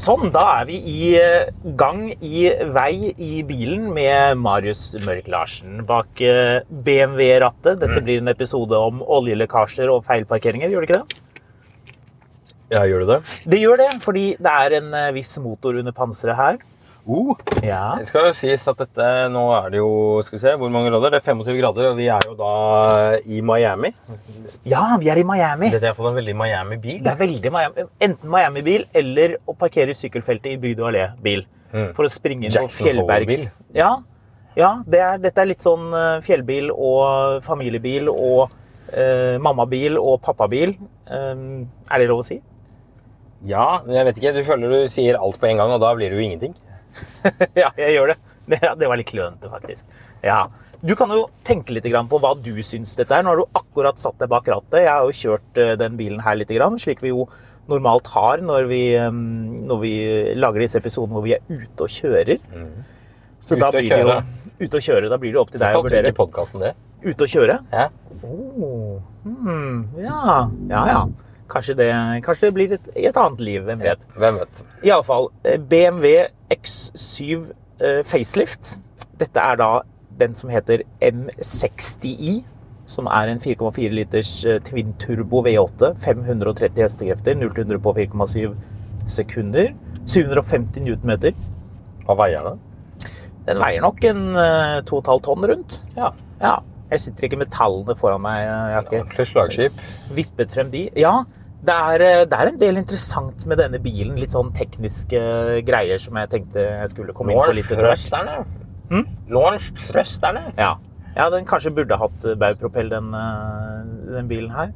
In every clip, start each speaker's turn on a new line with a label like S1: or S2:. S1: Sånn, da er vi i eh, gang, i vei, i bilen med Marius Mørk-Larsen bak eh, BMW-rattet. Dette blir en episode om oljelekkasjer og feilparkeringer, gjør det ikke det?
S2: Ja, gjør du det?
S1: Det gjør det, fordi det er en eh, viss motor under panseret her.
S2: Uh.
S1: Ja.
S2: Det skal jo sies at dette, nå er det jo, skal vi se, hvor mange grader? Det er 25 grader, og vi er jo da i Miami.
S1: ja, vi er i Miami.
S2: Dette er på en veldig Miami-bil.
S1: Det er veldig Miami. Enten Miami-bil eller å parkere i sykkelfeltet i Byd og Allé-bil.
S2: Mm.
S1: For å springe inn på
S2: Jackson
S1: fjellbergs.
S2: Hole-bil.
S1: Ja, ja det er, dette er litt sånn eh, fjellbil og familiebil og eh, mammabil og pappabil. Um, er det lov å si?
S2: Ja, jeg vet ikke, du føler du sier alt på en gang, og da blir det jo ingenting.
S1: ja, jeg gjør det. Det, det var litt klønete, faktisk. Ja. Du kan jo tenke litt grann på hva du syns dette er. Nå har du akkurat satt deg bak rattet. Jeg har jo kjørt eh, den bilen her litt, grann, slik vi jo normalt har når vi, eh, når vi lager disse episodene hvor vi er ute og kjører. Så
S2: Mm. Ute
S1: da blir
S2: og
S1: det jo
S2: kjøre.
S1: ute og kjøre. Da blir det jo opp til deg å
S2: Kalte du
S1: vurdere.
S2: ikke podcasten det?
S1: Ute og kjøre?
S2: Ja.
S1: Oh. Hmm. Ja, ja. ja. Kanskje det, kanskje det blir et, i et annet liv. Hvem vet.
S2: Hvem vet?
S1: Iallfall BMW X7 eh, facelift. Dette er da den som heter M60i, som er en 4,4 liters eh, twin turbo V8. 530 hestekrefter, 0-100 på 4,7 sekunder. 750 newtonmeter.
S2: Hva veier den?
S1: Den veier nok en eh, 2,5 tonn rundt.
S2: Ja.
S1: Ja. Jeg sitter ikke med tallene foran meg. eh, Jeg har ikke
S2: Ordentlig slagskip.
S1: vippet frem de. Ja, det er, eh, det er en del interessant med denne bilen. Litt sånn tekniske eh, greier som jeg tenkte jeg skulle komme inn på
S2: Lawrence
S1: litt etter hvert.
S2: Trøsterne.
S1: Hm?
S2: Lawrence Trøsterne.
S1: Ja. ja, den kanskje burde hatt eh, baugpropell, den, eh, den bilen her.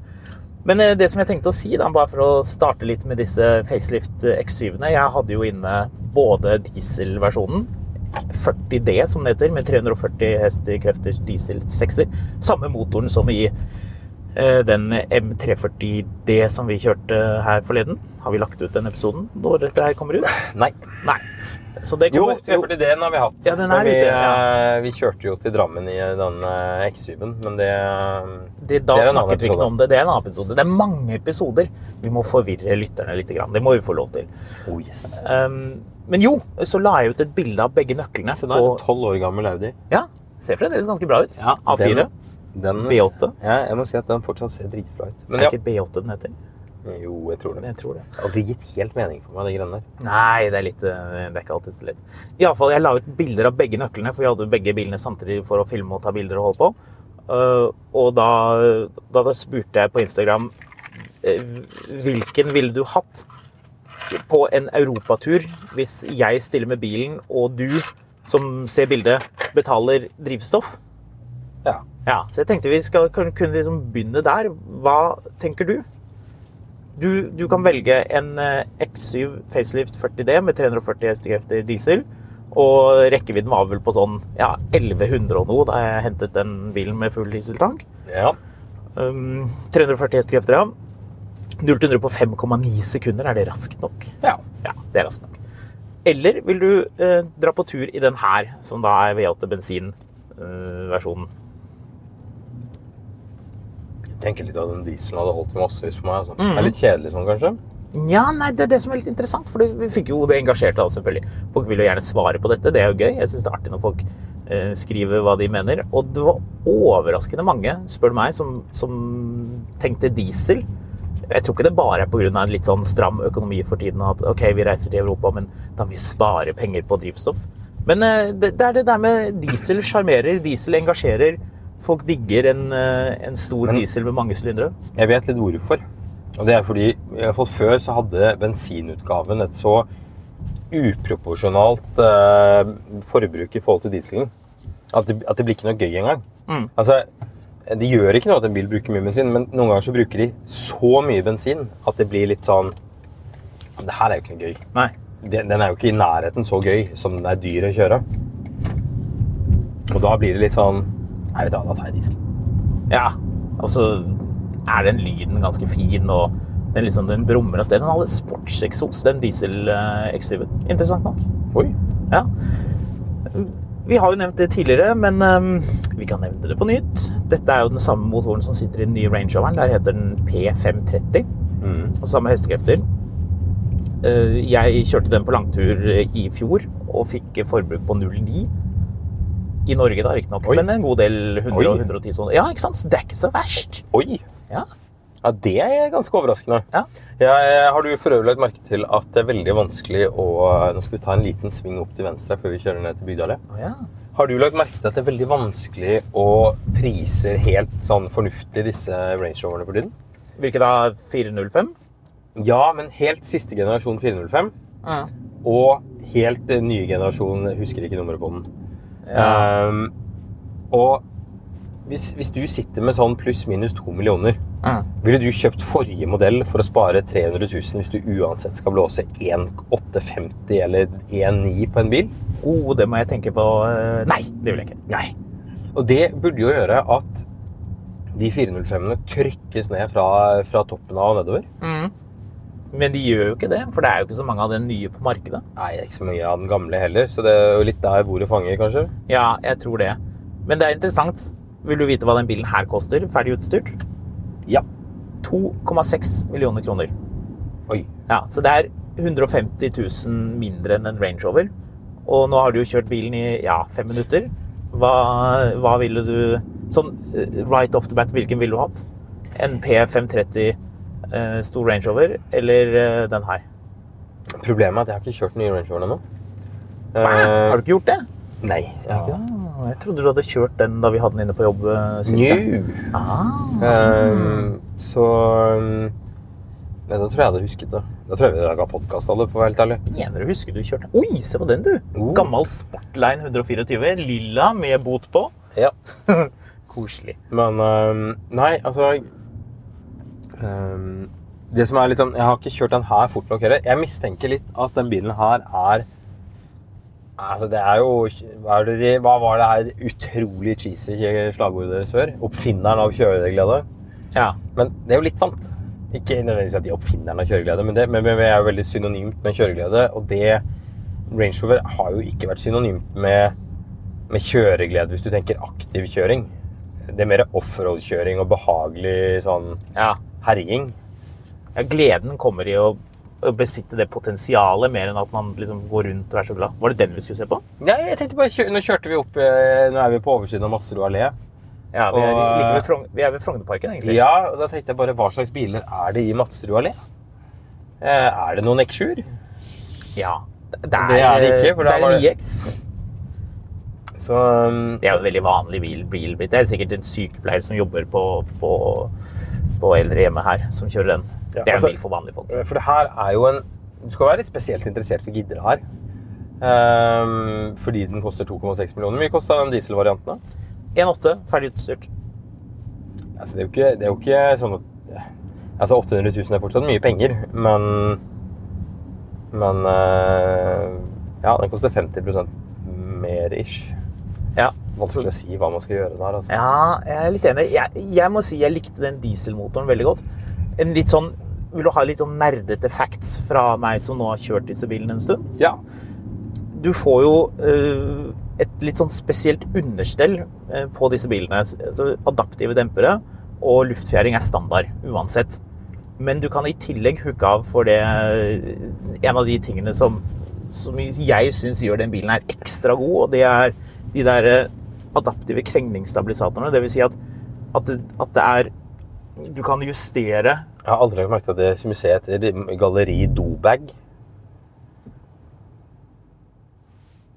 S1: Men eh, det som jeg tenkte å si, da, bare for å starte litt med disse facelift eh, X7-ene Jeg hadde jo inne både dieselversjonen, 40D som det heter, med 340 hestekrefters diesel 6-er. Samme motoren som i eh, den M340D som vi kjørte eh, her forleden. Har vi lagt ut den episoden når dette her kommer ut?
S2: Nei.
S1: Nei. Så det
S2: Jo,
S1: kommer
S2: selvfølgelig den har vi hatt.
S1: Ja, den er
S2: Men vi,
S1: ute, ja.
S2: eh, vi kjørte jo til Drammen i den eh, X7-en, men det eh,
S1: det, da
S2: Det er en annen
S1: snakket vi ikke
S2: episode.
S1: noe om det. Det er en annen episode. Det er mange episoder. Vi må forvirre lytterne litt. Grann. Det må vi få lov til.
S2: Oh, yes.
S1: Um, men jo, så la jeg ut et bilde av begge nøklene.
S2: Se der,
S1: på-
S2: 12 år gammel Audi.
S1: ja, Ser fremdeles ganske bra ut. A4.
S2: den- den-
S1: B8.
S2: Ja, jeg må si at den fortsatt ser dritbra ut. Men
S1: Er
S2: ja.
S1: ikke B8 den heter?
S2: Jo, jeg tror det.
S1: Jeg tror det.
S2: Det har aldri gitt helt mening for meg, de greiene der.
S1: Nei, det er, litt, eh, det er ikke alltid så lett. Iallfall, jeg la ut bilder av begge nøklene, for jeg hadde jo begge bilene samtidig for å filme og ta bilder og holde på. Uh, og da, da, da spurte jeg på Instagram eh, hvilken ville du hatt på en europatur hvis jeg stiller med bilen, og du som ser bildet, betaler drivstoff?
S2: Ja.
S1: Ja, så jeg tenkte vi skal kun- kunne liksom begynne der. Hva tenker du? Du, du kan velge en eh, X7 facelift 40D med 340 hestekrefter diesel. Og rekkevidden var vel på sånn ja, 1100 og noe da jeg hentet den bilen med full dieseltank.
S2: ja.
S1: Um, 340 hestekrefter, ja. 0 til 100 på 5,9 sekunder. Er det raskt nok?
S2: Ja.
S1: Ja, det er raskt nok. Eller vil du eh, dra på tur i den her, som da er V8 bensin-versjonen?
S2: Jeg tenker litt at den dieselen hadde holdt i massevis for meg. Altså. Det er litt kjedelig sånn, kanskje.
S1: Ja, nei, det er det som er litt interessant, for vi fikk jo det engasjerte da, selvfølgelig. Folk vil jo gjerne svare på dette, det er jo gøy. Jeg synes det er artig når folk eh, skriver hva de mener. Og det var overraskende mange, spør du meg, som, som tenkte diesel. Jeg tror ikke det bare er pga. en litt sånn stram økonomi for tiden, at ok, vi reiser til Europa, men da må vi spare penger på drivstoff. Men eh, det, det er det der med diesel sjarmerer, diesel engasjerer. Folk digger en, eh, en stor
S2: Men-
S1: diesel med mange sylindere.
S2: Jeg vet litt hvorfor. Og det er fordi i hvert fall før så hadde bensinutgaven et så uproporsjonalt eh, forbruk i forhold til dieselen at det, at det blir ikke noe gøy engang.
S1: Mm.
S2: Altså, det gjør ikke noe at en bil bruker mye bensin, men noen ganger så bruker de så mye bensin at det blir litt sånn Det her er jo ikke noe gøy.
S1: Nei.
S2: Den, den er jo ikke i nærheten så gøy som den er dyr å kjøre. Og da blir det litt sånn Nei, vet du hva, da tar jeg diesel.
S1: Ja, og så er den lyden ganske fin, og den, liksom, den brummer av sted. Den hadde sportseksos, den diesel eh, X7-en. Interessant nok.
S2: Oi.
S1: Ja. Vi har jo nevnt det tidligere, men ehm, vi kan nevne det på nytt. Dette er jo den samme motoren som sitter i den nye Range Roveren. Der heter den P530,
S2: Mm.
S1: og samme hestekrefter. Eh, Jeg kjørte den på langtur eh, i fjor, og fikk forbruk på 0,9. I Norge, da, riktignok,
S2: Oi.
S1: men en god del 100 og
S2: Oi.
S1: 110 soner. Ja, ikke sant? Så Det er ikke så verst.
S2: Oi!
S1: Ja.
S2: Ja, Det er ganske overraskende.
S1: Ja.
S2: Jeg, eh, har du for øvrig lagt merke til at det er veldig vanskelig å eh, Nå skal vi ta en liten sving opp til venstre før vi kjører ned til Bygdalé.
S1: Å ja.
S2: Har du lagt merke til at det er veldig vanskelig å priser helt sånn fornuftig disse Range Roverne for tiden?
S1: Hvilket da? 405?
S2: Ja, men helt siste generasjon 405 og helt eh, nye generasjon jeg Husker ikke nummeret på den. Ehm, og hvis, hvis du sitter med sånn pluss-minus to millioner
S1: Mm.
S2: Ville du kjøpt forrige modell for å spare 300 000 hvis du uansett skal blåse 1,850 eller 1,9 på en bil?
S1: Oh, det må jeg tenke på eh, Nei, det vil jeg ikke.
S2: Nei. Og det burde jo gjøre at de 405-ene trykkes ned fra, fra toppen av og nedover.
S1: Men de gjør jo ikke det, for det er jo ikke så mange av den nye på markedet.
S2: Nei, det er ikke så mye av den gamle heller, så det er jo litt der bordet fanger, kanskje.
S1: Ja, jeg tror det. Men det er interessant. Vil du vite hva den bilen her koster, ferdig utstyrt?
S2: Ja.
S1: 2,6 millioner kroner.
S2: Oi.
S1: Ja, Så det er 150 000 mindre enn en Range Rover. Og nå har du jo kjørt bilen i ja, fem minutter. Hva, hva ville du Sånn eh, right off the bat, hvilken ville du hatt? En P530 eh, stor Range Rover eller eh, den her?
S2: Problemet er at jeg har ikke kjørt den nye Range Roveren ennå.
S1: Hæ? Har du ikke gjort det?
S2: Eh, Nei. jeg har ikke det.
S1: Ah, jeg trodde du hadde kjørt den da vi hadde den inne på jobb eh, siste.
S2: New.
S1: Ah,
S2: Ehm, så ehm, Nei, da tror jeg jeg hadde husket det. Da tror jeg vi laga podkast av det, for å være helt ærlig.
S1: mener du husker du kjørte den? Oi, se på den, du!
S2: Oh.
S1: Gammel Sportline 124. Lilla med bot på.
S2: Ja.
S1: Koselig.
S2: Men ehm, Nei, altså ehm, Det som er litt sånn Jeg har ikke kjørt den her fort nok heller. Jeg mistenker litt at den bilen her er Altså, det er jo Hva, er det, de- hva var det her utrolig cheesy slagordet deres før? Oppfinneren av kjøreglede.
S1: Ja.
S2: Men det er jo litt sant. Ikke nødvendigvis at de er oppfinneren av kjøreglede, men det, men men vi er jo veldig synonymt med kjøreglede. Og det Range Rover har jo ikke vært synonymt med, med kjøreglede hvis du tenker aktiv kjøring. Det er mer offroad-kjøring og behagelig sånn
S1: ja.
S2: herjing.
S1: ja, gleden kommer i å, å besitte det potensialet, mer enn at man liksom går rundt og er så glad. Var det den vi skulle se på?
S2: Nei, jeg tenkte bare, kjø- Nå kjørte vi opp eh, Nå er vi på oversiden av Masserud allé.
S1: Ja, Vi er,
S2: Og-
S1: like ved, Frogn vi er ved Frognerparken, egentlig.
S2: Ja, og da tenkte jeg bare hva slags biler er det i Masserud allé? Eh, Er det noen X7-er?
S1: Ja. Det
S2: Det er det ikke, for
S1: det
S2: da
S1: er
S2: var
S1: en
S2: det-
S1: IX.
S2: Så um,
S1: Det er jo en veldig vanlig bil, bil blitt. Det er sikkert en sykepleier som jobber på, på, på eldrehjemmet her, som kjører den. det
S2: Ja,
S1: er en
S2: altså-
S1: bil for vanlige folk.
S2: For det her er jo en Du skal være litt spesielt interessert for å gidde det her. Ehm, fordi den koster 2,6 millioner. Hvor mye kosta den dieselvarianten? da?
S1: 1,8, ferdig utstyrt.
S2: Altså, det, er jo ikke, det er jo ikke sånn at Altså, 800 000 er fortsatt mye penger, men Men eh, Ja, den koster 50 mer ish.
S1: Ja.
S2: Vanskelig å si hva man skal gjøre der. Altså.
S1: ja, jeg er litt enig. Jeg, jeg må si jeg likte den dieselmotoren veldig godt. En litt sånn, vil du ha litt sånn nerdete facts fra meg som nå har kjørt disse bilene en stund?
S2: Ja.
S1: du får jo eh, et litt sånn spesielt understell eh, Altså, på disse bilene. Så adaptive dempere og luftfjæring er standard uansett. Men du kan i tillegg hooke av for det eh, En av de tingene som, som jeg syns gjør den bilen her ekstra god, og det er de der eh, adaptive krengningsstabilisatorene. Det vil si at, at, det- at det er Du kan justere
S2: Jeg har aldri lagt merke til at det museet heter Galleri Dobag.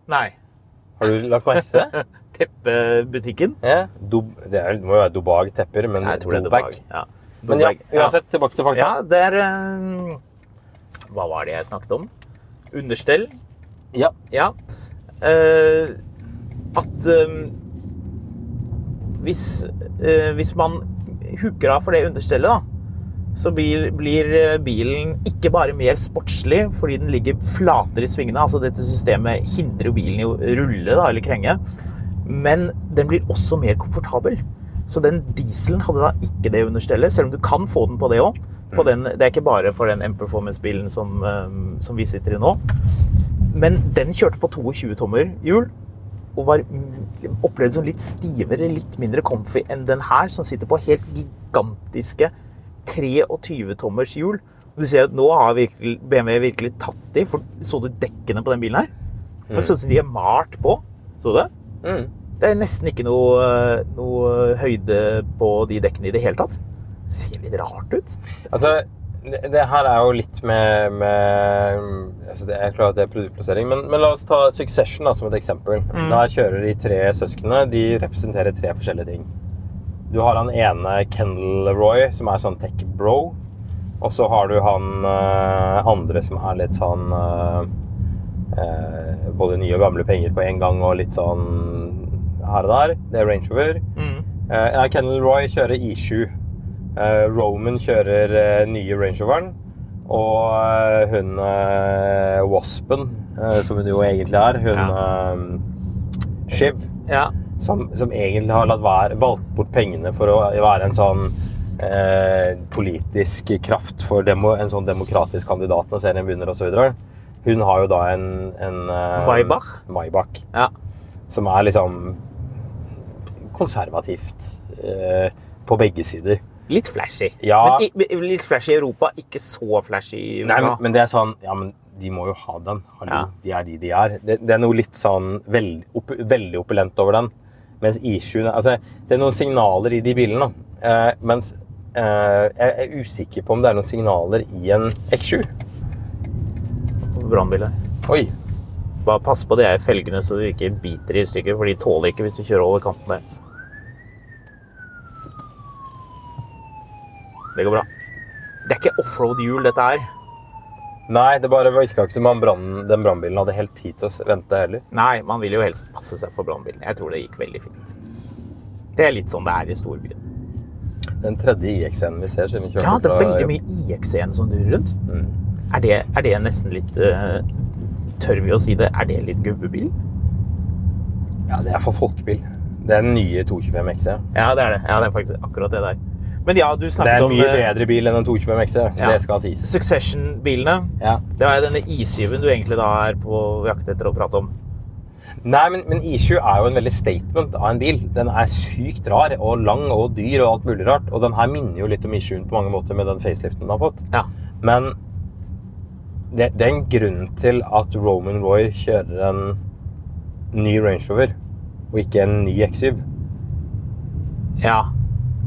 S1: Nei.
S2: Har du lagt merke til det?
S1: Teppebutikken.
S2: Ja. Do, det, er, det må jo være Dobag tepper, men
S1: Nei, jeg tror det er
S2: Dobag.
S1: Dobag. Ja.
S2: Men ja,
S1: Dobag,
S2: uansett, tilbake til fakta.
S1: Ja, der eh, Hva var det jeg snakket om? Understell.
S2: Ja.
S1: Ja. Eh, at eh, hvis, eh, hvis man hooker av for det understellet, da, så blir, blir eh, bilen ikke bare mer sportslig fordi den ligger flatere i svingene. Altså dette systemet hindrer jo bilen i å rulle da, eller krenge. Men den blir også mer komfortabel. Så den dieselen hadde da ikke det understellet, selv om du kan få den på det òg. Det er ikke bare for den M-Performance-bilen som, eh, som vi sitter i nå. Men den kjørte på 22 tommer hjul og var mm, opplevd som litt stivere, litt mindre comfy enn den her, som sitter på helt gigantiske 23 tommers hjul. Og Du ser at nå har virkelig, BMW virkelig tatt i, for så du dekkene på den bilen her? Det ser ut som de er malt på. Så du det?
S2: Mm.
S1: Det er nesten ikke noe, eh, noe høyde på de dekkene i det hele tatt. Ser litt rart ut.
S2: Altså, det, det her er jo litt med, med altså det, Jeg er klar at det er produktplassering, men, men la oss ta Succession da, som et eksempel. Der kjører de tre søsknene. De representerer tre forskjellige ting. Du har han ene Kendal Roy, som er sånn tech-bro. Og så har du han eh, andre som er litt sånn eh, eh, Både nye og gamle penger på en gang og litt sånn her og der. Det er Range Rover. Eh, ja, Kennel Roy kjører E7. Eh, Roman kjører eh, nye Range Roveren. Og eh, hun eh, Waspen, eh, som hun jo egentlig er, hun eh, Shiv,
S1: Ja.
S2: som, som egentlig har latt være, valgt bort pengene for å være en sånn eh, politisk kraft for demo, en sånn demokratisk kandidat når serien begynner osv. Hun har jo da en, en eh,
S1: Maybach?
S2: Maybach
S1: ja.
S2: som er liksom konservativt eh, på begge sider.
S1: Litt flashy.
S2: Ja.
S1: Men, i- litt flashy i Europa, ikke så flashy i
S2: Nei, men,
S1: USA.
S2: men det er sånn Ja, men de må jo ha den. Hallo,
S1: Ja.
S2: de er de de er. Det, det er noe litt sånn veld, opp, veldig opulent over den. Mens I7 Altså, det er noen signaler i de bilene. da. Eh, mens eh, jeg er usikker på om det er noen signaler i en X7.
S1: Brannbiler.
S2: Oi!
S1: Bare pass på de her felgene så du ikke biter i stykker, for de tåler ikke hvis du kjører over kanten der. Det går bra. Det er ikke offroad-hjul, dette her.
S2: Nei, det bare virka ikke som om brann- den brannbilen hadde helt tid til å vente heller.
S1: Nei, man vil jo helst passe seg for brannbilen. Jeg tror det gikk veldig fint. Det er litt sånn det er i storbyen.
S2: Den tredje IX-en vi ser siden vi kjørte
S1: Ja, det er
S2: fra-
S1: veldig mye IX1 som durer rundt.
S2: Mm.
S1: Er, det, er det nesten litt eh, Tør vi å si det? Er det litt gubbebil?
S2: Ja, det er for folkebil. Det er den nye 225 XE.
S1: Ja, det er det. Ja, det er faktisk akkurat det der. Men ja, du
S2: Det
S1: snakket
S2: er en
S1: om
S2: mye
S1: eh,
S2: bedre bil enn en 225 XE.
S1: Ja.
S2: Det skal sies.
S1: Succession-bilene.
S2: Ja.
S1: Det er denne I7-en du egentlig da er på jakt etter å prate om.
S2: Nei, men, men I7 er jo en veldig statement av en bil. Den er sykt rar og lang og dyr og alt mulig rart. Og den her minner jo litt om I7-en på mange måter med den faceliften den har fått.
S1: Ja.
S2: Men det, det er en grunn til at Roman Roy kjører en ny Range Rover og ikke en ny X7.
S1: ja.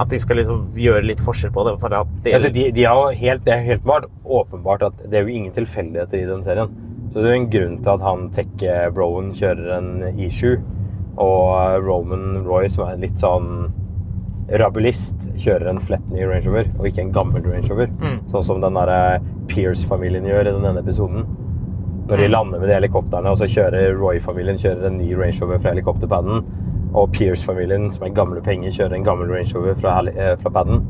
S1: At de skal liksom gjøre litt forskjell på det. For at det
S2: Altså, de, de er jo helt, det er helt åpenbart, åpenbart at det er jo ingen tilfeldigheter i den serien. Så det er jo en grunn til at han tech-broen kjører en I7, og Roman Roy, som er en litt sånn rabulist, kjører en flett ny Range Rover, og ikke en gammel Range Rover. Sånn som den der Pierce-familien gjør i den ene episoden. Når de lander med de helikopterne, og så kjører Roy-familien kjører en ny Range Rover fra helikopterpadden, og Pierce-familien, som er gamle penger, kjører en gammel Range Rover fra, heli- eh, fra padden.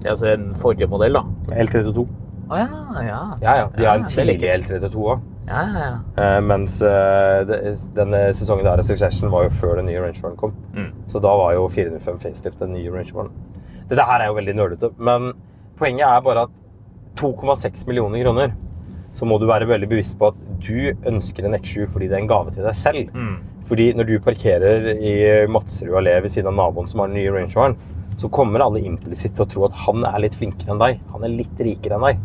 S1: det er altså en forrige modell, da.
S2: L32.
S1: Å ja, ja.
S2: Ja, ja. De
S1: Ja, Ah, det
S2: har en
S1: er
S2: tidlig
S1: lekkert.
S2: L32 òg.
S1: Ja, ja, ja.
S2: mens eh, det- denne sesongen der av Succession var jo før den nye Range Roveren kom.
S1: Mm.
S2: Så da var jo 405 facelift den nye Range Roveren. Dette her er jo veldig nerdete, men poenget er bare at 2,6 millioner kroner så må du være veldig bevisst på at du ønsker en X7 fordi det er en gave til deg
S1: Mm.
S2: selv. Fordi når du parkerer i Madserud allé ved siden av naboen som har den nye Range Roveren, så kommer alle implisitt til å tro at han er litt flinkere enn deg. Han er litt rikere enn deg.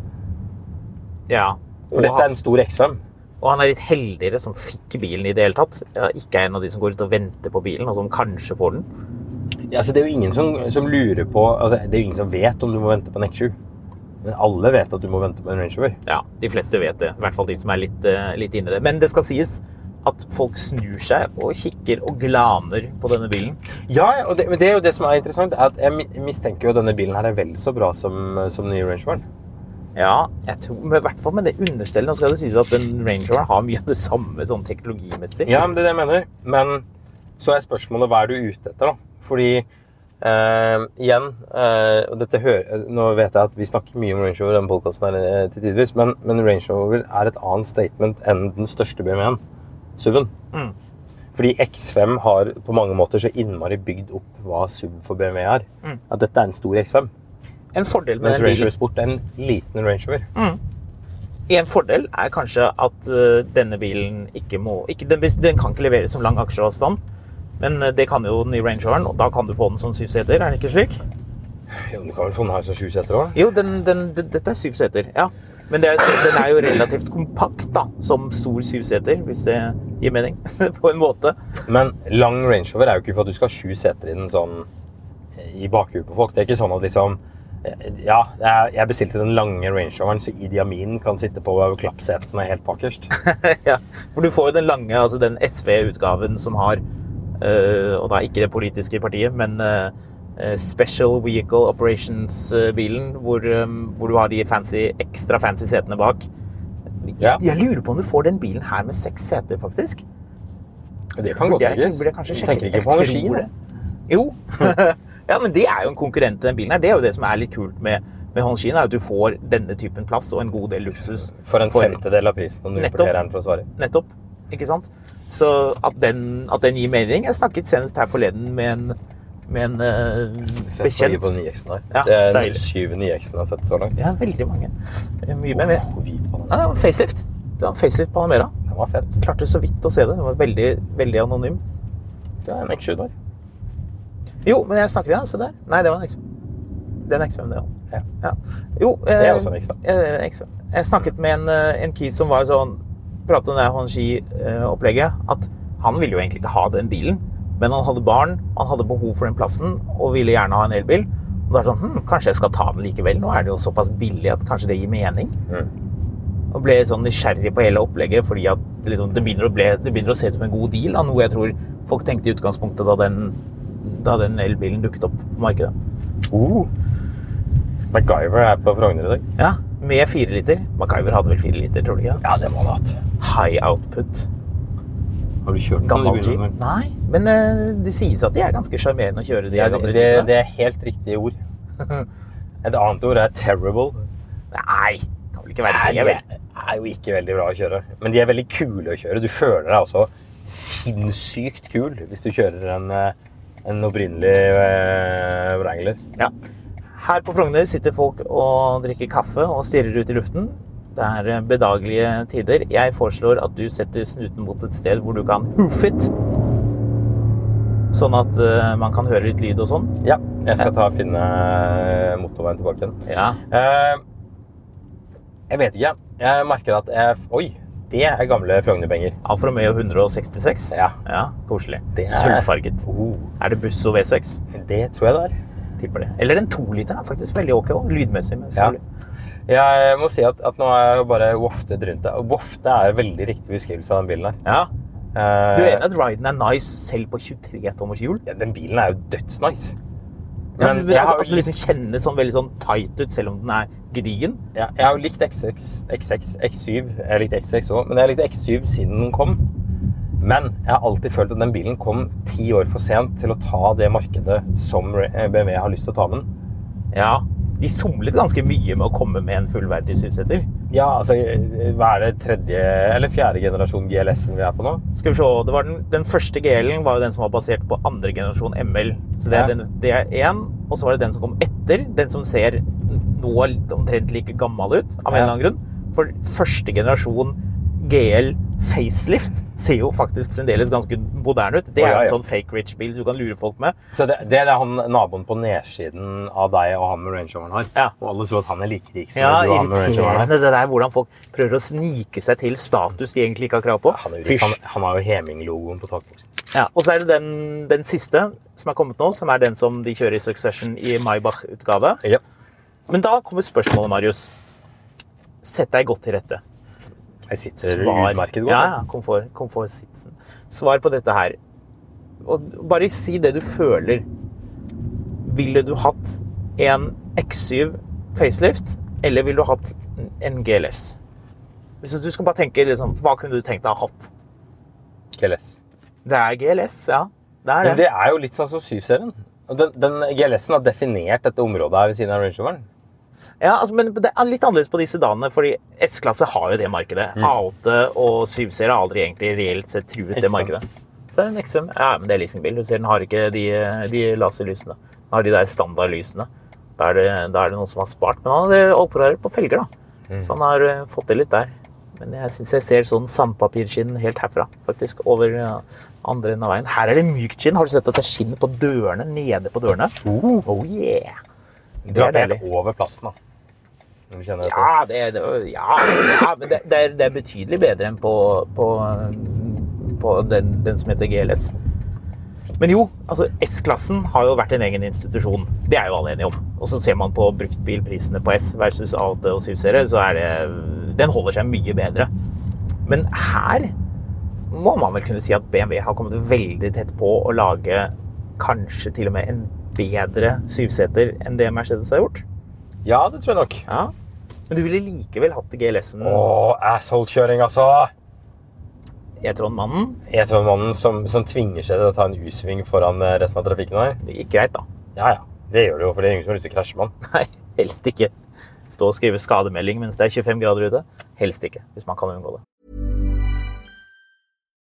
S1: Ja.
S2: For dette er en stor X5.
S1: Og han er litt heldigere som fikk bilen i det hele tatt. Ja, ikke er en av de som går ut og venter på bilen, og som kanskje får den.
S2: Ja, så det er jo ingen som, som lurer på altså, Det er jo ingen som vet om du må vente på en X7. Men alle vet at du må vente på en Range Rover.
S1: Ja, de fleste vet det. I hvert fall de som er litt, eh, litt inne i det. Men det skal sies at folk snur seg og kikker og glaner på denne bilen.
S2: Ja, ja, og det, men det er jo det som er interessant, er at jeg mi- mistenker jo at denne bilen her er vel så bra som, som den nye Range Roveren.
S1: Ja, jeg tror, men i hvert fall med det understellet. Nå skal det sies at den Range Roveren har mye av det samme sånn teknologimessig.
S2: Ja, men det er det jeg mener. Men så er spørsmålet hva er du ute etter, da? Fordi eh, igjen eh, og dette hører, Nå vet jeg at vi snakker mye om Range Rover i denne podkasten til tidvis, men, men Range Rover er et annet statement enn den største BMW-en, SUV-en.
S1: Mm.
S2: Fordi X5 har på mange måter så innmari bygd opp hva SUV for BMW er.
S1: Mm.
S2: At dette er en stor X5.
S1: En fordel med
S2: Mens
S1: den bilen
S2: Range Rover Sport er en liten Range Rover.
S1: Mm. En fordel er kanskje at eh, denne bilen ikke må ikke, den, den kan ikke leveres som lang aksjeavstand, men eh, det kan jo den nye Range Roveren, og da kan du få den som syv seter, er det ikke slik?
S2: Jo, du kan vel få den her som sju seter òg?
S1: Jo, den, den, d- dette er syv seter, ja. Men det er, den er jo relativt kompakt, da, som stor syvseter, hvis det gir mening. På en måte.
S2: Men lang Range Rover er jo ikke for at du skal ha sju seter i den sånn eh, i bakhuet på folk. Det er ikke sånn at liksom eh, Ja, jeg- jeg bestilte den lange Range Roveren, så Idi Amin kan sitte på klappsetene helt bakerst.
S1: ja. For du får jo den lange, altså den SV-utgaven som har eh, Og da ikke det politiske partiet, men eh, eh, Special Vehicle Operations-bilen, hvor, eh, hvor du har de fancy, ekstra fancy setene bak.
S2: Ja.
S1: Jeg lurer på om du får den bilen her med seks seter, faktisk.
S2: Det kan godt
S1: Burde jeg,
S2: tenkes.
S1: burde jeg kanskje
S2: Du
S1: sjekke
S2: Tenker ikke på
S1: Jeg
S2: energi,
S1: tror
S2: da.
S1: det. Jo. ja, men det er jo en konkurrent til den bilen her. Det er jo det som er litt kult med, med Honshin, er at du får denne typen plass og en god del luksus.
S2: For en
S1: For-
S2: femtedel av prisen når du
S1: Nettopp.
S2: importerer den fra Sverige.
S1: Nettopp. Ikke sant? Så at den, at den gir mening Jeg snakket senest her forleden med en, med en eh,
S2: Fett å gi på
S1: bekjent.
S2: den IX-en her.
S1: Ja,
S2: det er den
S1: deilig.
S2: syvende IX-en jeg har sett så langt.
S1: Ja, veldig mange. Eh, Mye
S2: Åh,
S1: mer. Ah. mer.
S2: hvit banan.
S1: Ja, det var facelift. Det var en facelift Panamera.
S2: Den var fett.
S1: Klarte så vidt å se det. Den var veldig, veldig anonym.
S2: Det er en X7 der.
S1: Jo, men jeg snakket igjen. Se der. Nei, det var en X5. Det er en X5, det òg.
S2: Ja.
S1: Ja. Jo, eh,
S2: Det er også en X5.
S1: eh, X5. Jeg snakket med en, eh, en kis som var sånn Pratet om det Honshi-opplegget. eh, At han ville jo egentlig ikke ha den bilen, men han hadde barn, han hadde behov for den plassen og ville gjerne ha en elbil. Og da er det sånn hm, Kanskje jeg skal ta den likevel? Nå er det jo såpass billig at kanskje det gir mening?
S2: Mm.
S1: Og ble sånn nysgjerrig på hele opplegget fordi at det liksom, det, begynner å ble, det begynner å se ut som en god deal. Da, noe jeg tror folk tenkte i utgangspunktet da den, da den elbilen dukket opp på markedet.
S2: Uh. MacGyver er på Frogner i dag.
S1: Ja, Med fire liter. MacGyver hadde vel fire liter, tror du ikke? det?
S2: Ja, det må han ha hatt.
S1: High output.
S2: Har du kjørt den?
S1: Gammel
S2: du,
S1: jeep.
S2: Gunnar?
S1: Nei, men eh, det sies at de er ganske sjarmerende å kjøre de
S2: Ja,
S1: her
S2: det,
S1: gamle
S2: det,
S1: jeepene.
S2: det er helt riktige ord. Et annet ord er terrible.
S1: Nei, det kan vel ikke være
S2: Nei,
S1: det,
S2: de
S1: vel?
S2: er jo ikke veldig bra å kjøre, men de er veldig kule å kjøre. Du føler deg også sinnssykt kul hvis du kjører en, eh, en opprinnelig eh, Wrangler.
S1: Ja. Her på Frogner sitter folk og drikker kaffe og stirrer ut i luften. Det er eh, bedagelige tider. Jeg foreslår at du setter snuten mot et sted hvor du kan hoofe it. Sånn at eh, man kan høre litt lyd og sånn.
S2: Ja, jeg skal ta og finne eh, motorveien tilbake igjen.
S1: Ja.
S2: Eh, jeg vet ikke. Jeg merker at jeg Oi, det er gamle Frogner-penger.
S1: Alfa Romeo 166.
S2: Ja.
S1: Ja, Koselig.
S2: Det er-
S1: Sølvfarget.
S2: Oh,
S1: Er det Busso V6?
S2: det tror jeg det er.
S1: Tipper det. Eller den toliteren er faktisk veldig ok også, lydmessig. Men selvfølgelig.
S2: Jeg må si at, at nå er jeg bare woftet rundt det. Og Wofte er en veldig riktig beskrivelse av den bilen her.
S1: Ja.
S2: Eh,
S1: Du er enig at Ryden er nice selv på 23 tommers hjul?
S2: ja, den bilen er jo dødsnice.
S1: Ja,
S2: Men
S1: du-
S2: jeg har
S1: at
S2: jo
S1: den liksom kjennes sånn veldig sånn tight ut, selv om den er gedigen.
S2: Ja, jeg har jo likt XX, XX, X7. Jeg likte XX òg, men jeg likte X7 siden den kom. Men jeg har alltid følt at den bilen kom ti år for sent til å ta det markedet som eh, BMW har lyst til å ta med den.
S1: Ja. De somlet ganske mye med å komme med en fullverdig syvseter.
S2: Ja, altså, hva er det tredje eller fjerde generasjon GLS-en vi er på nå?
S1: Skal vi se, det var den, den første GL-en var jo den som var basert på andre generasjon ML. Så det er,
S2: Ja.
S1: den, det er én, og så var det den som kom etter. Den som ser nå omtrent like gammel ut, av en
S2: Ja.
S1: eller annen grunn. For første generasjon GL facelift ser jo faktisk fremdeles ganske moderne ut. Det
S2: Å,
S1: er
S2: ja,
S1: en
S2: ja.
S1: sånn fake rich-bil du kan lure folk med.
S2: Så det, det er han naboen på nedsiden av deg og han med Range Roveren har.
S1: Ja.
S2: Og alle tror at han er like rik som
S1: Ja,
S2: du og han med Range Roveren har.
S1: irriterende det der hvordan folk prøver å snike seg til status de egentlig ikke har krav på.
S2: Han, er ulik.
S1: Fysj.
S2: han, han har jo Heming-logoen på takboksen.
S1: Ja, og så er det den, den siste som er kommet nå, som er den som de kjører i Succession i Maybach-utgave.
S2: Ja.
S1: Men da kommer spørsmålet, Marius. Sett deg godt til rette.
S2: Jeg sitter
S1: Svar.
S2: utmerket godt.
S1: Ja, ja, komfort, komfortsitsen. Svar på dette her. Og bare si det du føler. Ville du hatt en X7 facelift, eller ville du hatt en GLS? Hvis du skal bare tenke, liksom, hva kunne du tenkt deg å ha hatt?
S2: GLS.
S1: Det er GLS, ja. Det er
S2: Men
S1: det.
S2: det er jo litt sånn som 7-serien. Og Den, den GLS-en har definert dette området her ved siden av Range Roveren.
S1: Ja, altså, men det er litt annerledes på de sedanene, fordi S-klasse har jo det markedet.
S2: Mm.
S1: A8 og 7-serie har aldri egentlig reelt sett truet det
S2: Ikke sant.
S1: markedet. Så det er en XM. Ja, men det er leasingbil. Du ser, den har ikke de, de laserlysene. Den har de der standardlysene. Da er, det, da er det noen som har spart. Men han har opererer på felger, da.
S2: Mm.
S1: Så han har eh, fått det litt der. Men jeg syns jeg ser sånn sandpapirskinn helt herfra, faktisk. Over eh, andre enden av veien. Her er det mykt skinn. Har du sett at det er skinn på dørene? Nede på dørene? Oh yeah!
S2: Dra
S1: deilig.
S2: helt over plasten, da. Når du kjenner dette.
S1: Ja, det, det, ja, ja men det, det, er, det er betydelig bedre enn på, på, på den, den som heter GLS. Men jo, altså S-klassen har jo vært en egen institusjon. Det er jo alle enige om. Og så ser man på bruktbilprisene på S versus A8 og 7-serie, så er det Den holder seg mye bedre. Men her må man vel kunne si at BMW har kommet veldig tett på å lage kanskje til og med en bedre syvseter enn det Mercedes har gjort.
S2: Ja, det tror jeg nok.
S1: Ja. Men du ville likevel hatt GLS-en.
S2: Å, asshole-kjøring, altså!
S1: E-tron-mannen.
S2: Jeg tror mannen som, som tvinger seg til å ta en U-sving foran eh, resten av trafikken her.
S1: Det gikk greit, da.
S2: Ja, ja. Det gjør det jo, for det er ingen som har lyst til å krasje med han.
S1: Nei, helst ikke. Stå og skrive skademelding mens det er 25 grader ute. Helst ikke, hvis man kan unngå det.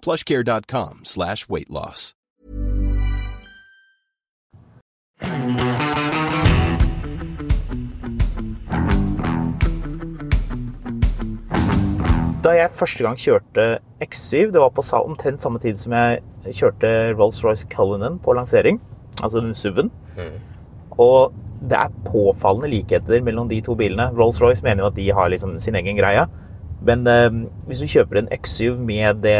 S3: plushcare.com slash weight loss.
S1: Da jeg første gang kjørte X7, det var på sa- omtrent samme tid som jeg kjørte Rolls-Royce Cullinan på lansering, altså den SUV-en. Og det er påfallende likheter mellom de to bilene. Rolls-Royce mener jo at de har liksom sin egen greie. Men eh, hvis du kjøper en X7 med det,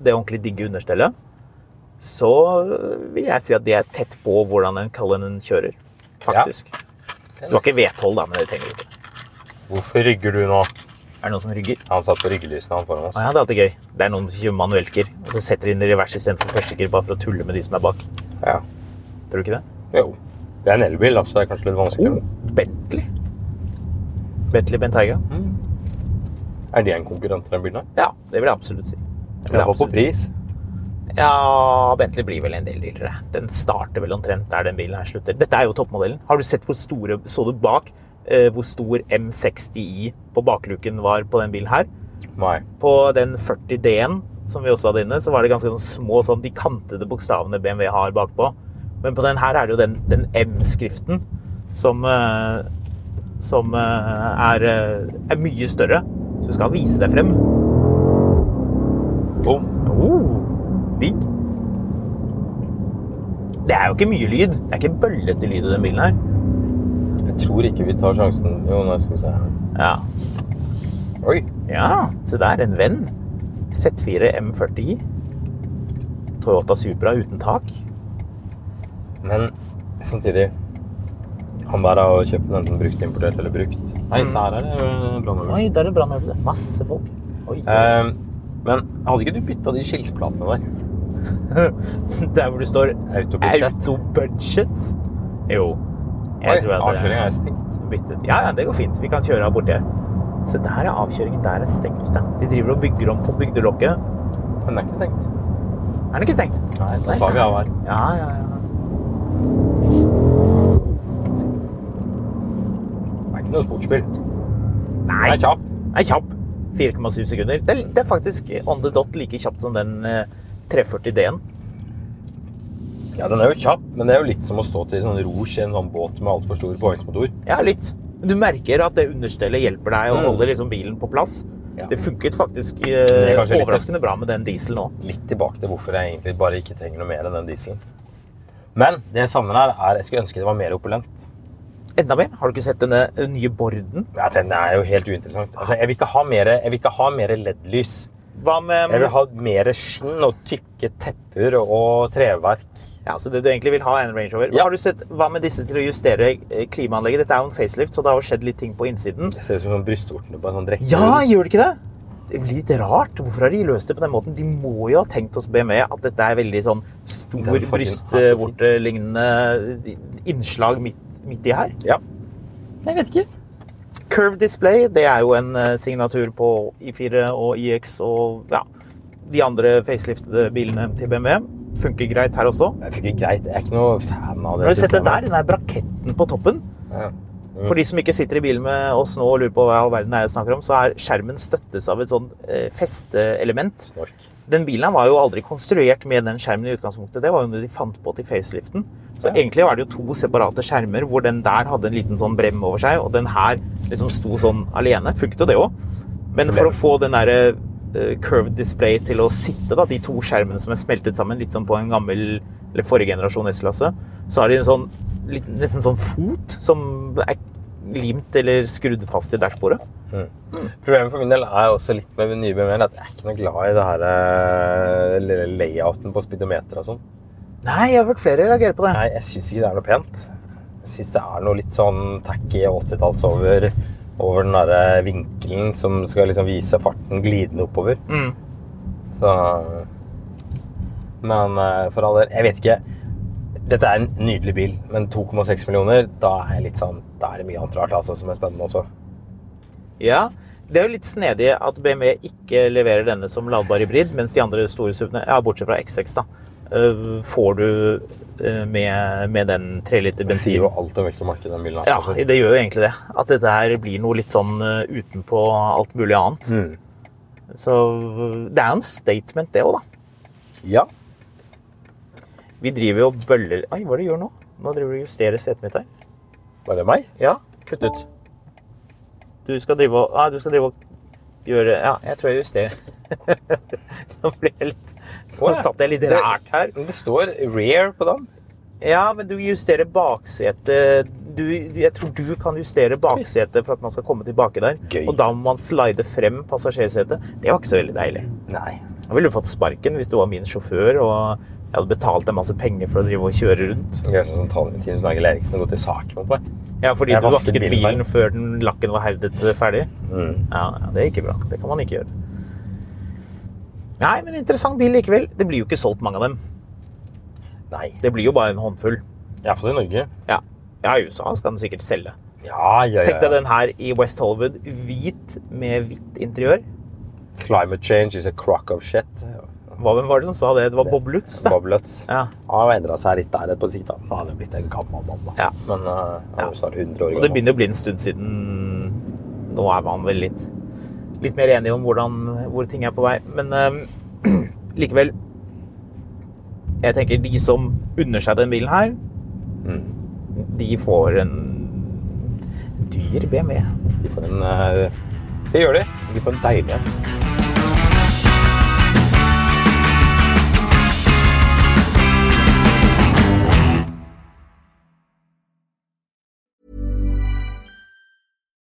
S1: det ordentlig digge understellet, så vil jeg si at det er tett på hvordan en Cullinan kjører, faktisk. Du har ikke vedhold, da, men det trenger du ikke.
S2: Hvorfor rygger du nå?
S1: Er det noen som rygger?
S2: Han satt på ryggelysene han foran oss.
S1: Å ja, det er alltid gøy. Det er noen som kjører manuellgir, og så setter de inn i revers istedenfor førstegir bare for å tulle med de som er bak.
S2: Ja.
S1: Tror du ikke det?
S2: Jo. Det er en elbil, da, så det er kanskje litt vanskeligere.
S1: Bentley. Bentley Bentayga.
S2: Er det en konkurrent til den bilen? her?
S1: Ja, det vil jeg absolutt si. Det vil jeg
S2: Iallfall på
S1: absolutt si.
S2: pris.
S1: Ja, Bentley blir vel en del dyrere. Den starter vel omtrent der den bilen her slutter. Dette er jo toppmodellen. Har du sett hvor store Så du bak eh, hvor stor M60i på bakluken var på den bilen her?
S2: Nei.
S1: På den 40D-en som vi også hadde inne, så var det ganske sånn små, sånn de kantede bokstavene BMW har bakpå. Men på den her er det jo den, den M-skriften som, eh, som eh, er, eh, er mye større. Så du skal vise deg frem.
S2: Bom.
S1: Oh, digg. Det er jo ikke mye lyd. Det er ikke bøllete lyd i den bilen her.
S2: Jeg tror ikke vi tar sjansen. Jo, nå skal vi se.
S1: Ja,
S2: Oi.
S1: ja se der, en venn. Z4 M40i. Toyota Supra uten tak.
S2: Men samtidig Han der har jo kjøpt den enten brukt, importert eller brukt. Nei, så her er det øh, blåmøbler.
S1: Oi, der er brannøvelse. Masse folk. Oi,
S2: Eh, men hadde ikke du bytta de skiltplatene der?
S1: Der hvor det står
S2: Autobudsjett.
S1: autobudget. Jo.
S2: Oi,
S1: Jeg tror at det-
S2: Avkjøringa er stengt.
S1: byttet. Ja, ja, det går fint. Vi kan kjøre av borti her. Se, der er avkjøringen. Der er stengt, da. De driver og bygger om på bygdelokket.
S2: Men den er ikke stengt.
S1: Er den ikke stengt?
S2: Nei, da
S1: se
S2: tar vi av her.
S1: Ja, ja, ja.
S2: Det er ikke noe sportsbil. Den
S1: Nei,
S2: er kjapp.
S1: Den er kjapp. 4,7 sekunder. Det er, det er faktisk on the dot like kjapt som den eh, 340D-en.
S2: Ja, den er jo kjapp, men det er jo litt som å stå til sånn rouge i en sånn båt med altfor stor påhengsmotor.
S1: Ja, litt. Du merker at det understellet hjelper deg å
S2: Mm.
S1: holde liksom bilen på plass.
S2: Ja.
S1: Det funket faktisk
S2: er
S1: eh,
S2: kanskje litt-
S1: overraskende bra med den dieselen òg.
S2: Litt tilbake til hvorfor jeg egentlig bare ikke trenger noe mer enn den dieselen. Men det jeg savner her, er jeg skulle ønske det var mer opulent.
S1: Enda mer. Har du ikke sett denne eh, nye Borden?
S2: Ja, den er jo helt uinteressant. Altså, jeg vil ikke ha mer, jeg vil ikke ha mer LED-lys.
S1: Hva med
S2: Jeg vil ha mer skinn og tykke tepper og treverk.
S1: Ja, så det du egentlig vil ha er en Range Rover.
S2: Ja.
S1: Har du sett, hva med disse til å justere eh, klimaanlegget? Dette er jo en facelift, så det har jo skjedd litt ting på innsiden.
S2: Det ser ut som sånn brystvortene på en sånn drekke.
S1: Ja, gjør det ikke det? Det er litt rart. Hvorfor har de løst det på den måten? De må jo ha tenkt hos BMW at dette er veldig sånn
S2: Den
S1: stor
S2: fargen er så fin.
S1: brystvortelignende innslag midt, midt i her.
S2: ja. Jeg vet ikke.
S1: Curve Display, det er jo en eh, signatur på I4 og IX og ja, de andre facelift-bilene til BMW. Funker greit her også.
S2: Jeg fikk jo greit. Jeg er ikke noe fan av det.
S1: Har du sett den
S2: systemet.
S1: der? Den der braketten på toppen.
S2: Ja.
S1: For de som ikke sitter i bilen med oss nå og lurer på hva i all verden er jeg snakker om, så er skjermen støttes av et sånn eh, festeelement.
S2: Snork.
S1: Den bilen her var jo aldri konstruert med den skjermen i utgangspunktet. Det var jo noe de fant på til faceliften. Så
S2: Ja.
S1: egentlig var det jo to separate skjermer hvor den der hadde en liten sånn brem over seg, og den her liksom sto sånn alene. Funket jo det òg. Men for å få den derre eh, curved display til å sitte, da, de to skjermene som er smeltet sammen, litt som på en gammel eller forrige generasjon S-klasse, så har de en sånn litt- nesten sånn fot som er limt eller skrudd fast i dashbordet.
S2: Problemet for min del er også litt med den nye BMW-en at jeg er ikke noe glad i det her eh, lille layouten på speedometer og sånn.
S1: Nei, jeg har hørt flere reagere på det.
S2: Nei, jeg syns ikke det er noe pent. Jeg syns det er noe litt sånn tacky 80-talls over, over den derre vinkelen som skal liksom vise farten glidende oppover.
S1: Mm.
S2: Så Men eh, for all del, jeg vet ikke. Dette er en nydelig bil, men 2,6 millioner, da er jeg litt sånn Da er det mye annet rart altså, som er spennende også.
S1: Ja, det er jo litt snedig at BMW ikke leverer denne som ladbar hybrid, mens de andre store SUV-ene, ja, bortsett fra X6, da, øh, får du øh, med, med den 3 liter
S2: Det
S1: bensin.
S2: sier jo alt om hvilket marked den bilen er.
S1: Ja, det gjør jo egentlig det. At dette her blir noe litt sånn øh, utenpå alt mulig annet.
S2: Mm.
S1: Så øh, det er jo en statement, det òg, da.
S2: ja.
S1: Vi driver jo og bøller Oi, hva er det du gjør nå? Nå driver du og justerer setet mitt her.
S2: Var det meg?
S1: Ja, kutt ut. Du skal drive og Nei, du skal drive og gjøre Ja, jeg tror jeg justerer. Nå ble jeg litt Nå
S2: Åja.
S1: satt jeg litt
S2: Det-
S1: rart her.
S2: Men det står rare på den.
S1: Ja, men du justerer baksetet du, Jeg tror du kan justere baksetet for at man skal komme tilbake der.
S2: Gøy.
S1: Og da må man slide frem passasjersetet. Det var ikke så veldig deilig.
S2: Nei.
S1: Da ville du fått sparken hvis du var min sjåfør og jeg hadde betalt deg masse penger for å drive og kjøre rundt.
S2: Jeg er sånn som Tony Tine Nagel Eriksen har gått i sak mot meg.
S1: Ja, fordi
S2: Jeg
S1: du
S2: vasket
S1: vasket
S2: bilen
S1: bilen før den lakken var herdet eh, ferdig.
S2: Mm.
S1: Ja, ja, det er ikke bra. Det kan man ikke gjøre. Nei, men interessant bil likevel. Det blir jo ikke solgt mange av dem.
S2: Nei.
S1: Det blir jo bare en håndfull.
S2: Iallfall i Norge.
S1: Ja, ja i USA skal den sikkert selge.
S2: Ja, ja,
S1: Tenk
S2: ja.
S1: deg den her i West Hollywood. Hvit med hvitt interiør.
S2: Climate change is a crock of shit.
S1: Hva hvem var det som sa det? Det var Bob Lutz, da.
S2: Boblets.
S1: Ja.
S2: Han har endra seg litt der på sikt. da. Han hadde blitt en gammel mann,
S1: Ja.
S2: da. Men eh, han er jo snart 100 år
S1: Og det
S2: gammel.
S1: begynner å bli en stund siden Nå er man vel litt, litt mer enige om hvordan, hvor ting er på vei. Men eh, likevel Jeg tenker de som unner seg den bilen her, de får en dyr BMW.
S2: De får en, eh, det gjør de. De får en deilig en.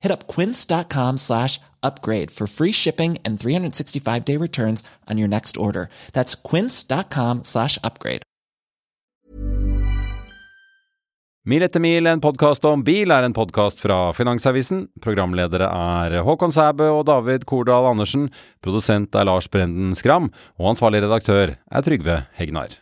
S4: Hit up quince.com slash upgrade for free shipping and 365 day returns on your next order. That's quince.com slash upgrade.
S5: Mil etter mil, en podkast om bil, er en podkast fra Finansavisen. Programledere er Håkon Sæbø og David Kordal Andersen. Produsent er Lars Brenden Skram. Og ansvarlig redaktør er Trygve Hegnar.